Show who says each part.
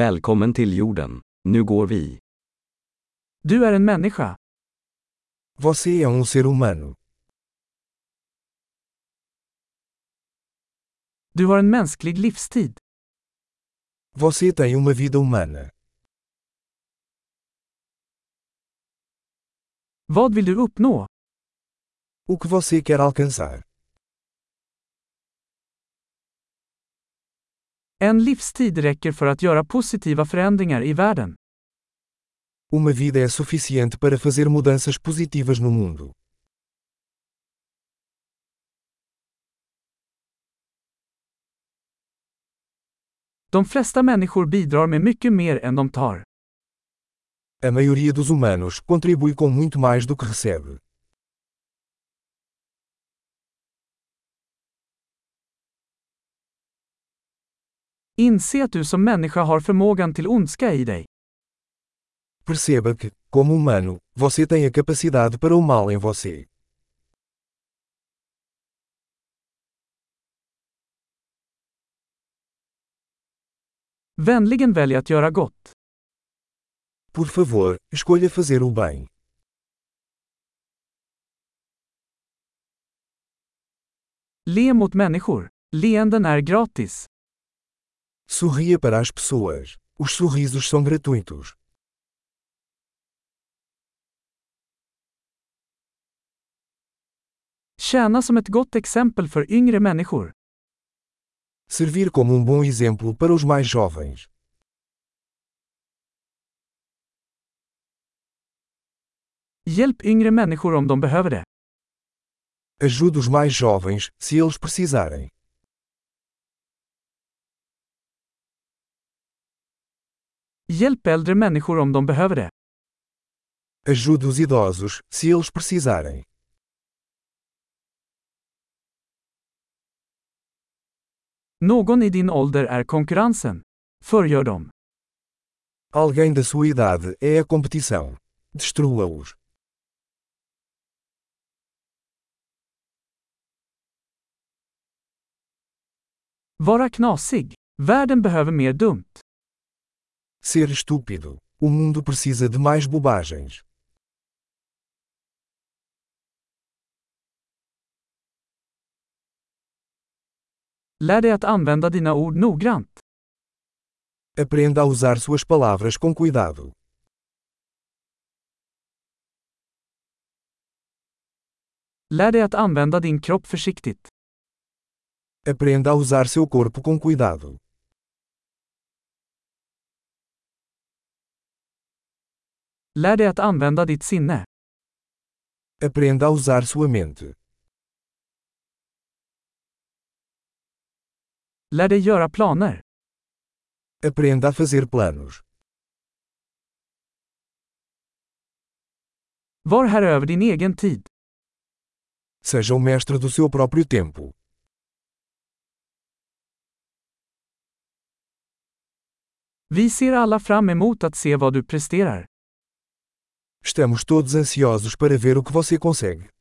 Speaker 1: Välkommen till jorden. Nu går vi.
Speaker 2: Du är en människa.
Speaker 3: Você é um ser humano.
Speaker 2: Du har en mänsklig livstid.
Speaker 3: Você tem uma vida humana.
Speaker 2: Vad vill du uppnå?
Speaker 3: O que você quer alcançar?
Speaker 2: En livstid räcker för att göra positiva förändringar i världen.
Speaker 3: Uma vida é suficiente para fazer mudanças positivas no mundo.
Speaker 2: De flesta människor bidrar med mycket mer än de tar.
Speaker 3: A maioria dos humanos contribui com muito mais do que recebe.
Speaker 2: Inse att du som människa har förmågan till ondska i dig.
Speaker 3: Perceba que, como humano, você tem a capacidade para o mal em você.
Speaker 2: Vänligen välj att göra gott.
Speaker 3: Por favor, escolha fazer o bem.
Speaker 2: Le mot människor. Leenden är gratis.
Speaker 3: Sorria para as pessoas. Os sorrisos são gratuitos.
Speaker 2: Tjäna som ett gott exempel för yngre människor.
Speaker 3: Servir como um bom exemplo para os mais jovens.
Speaker 2: Hjälp yngre människor om de behöver det.
Speaker 3: Ajude os mais jovens, se eles precisarem.
Speaker 2: Hjälp äldre människor om de behöver det.
Speaker 3: Ajude os idosos, se eles precisarem.
Speaker 2: Någon i din ålder är konkurrensen. Förgör dem.
Speaker 3: Alguém da sua idade é a competição. Destrua-os.
Speaker 2: Vara knasig. Världen behöver mer dumt.
Speaker 3: Ser estúpido. O mundo precisa de mais bobagens.
Speaker 2: Lär dig att använda dina ord noggrant.
Speaker 3: Aprenda a usar suas palavras com cuidado.
Speaker 2: Lär dig att använda din kropp försiktigt.
Speaker 3: Aprenda a usar seu corpo com cuidado.
Speaker 2: Lär dig att använda ditt sinne.
Speaker 3: Aprenda a usar sua mente.
Speaker 2: Lär dig göra planer.
Speaker 3: Aprenda a fazer planos.
Speaker 2: Var här över din egen tid.
Speaker 3: Seja o mestre do seu próprio tempo.
Speaker 2: Vi ser alla fram emot att se vad du presterar.
Speaker 3: Estamos todos ansiosos para ver o que você consegue.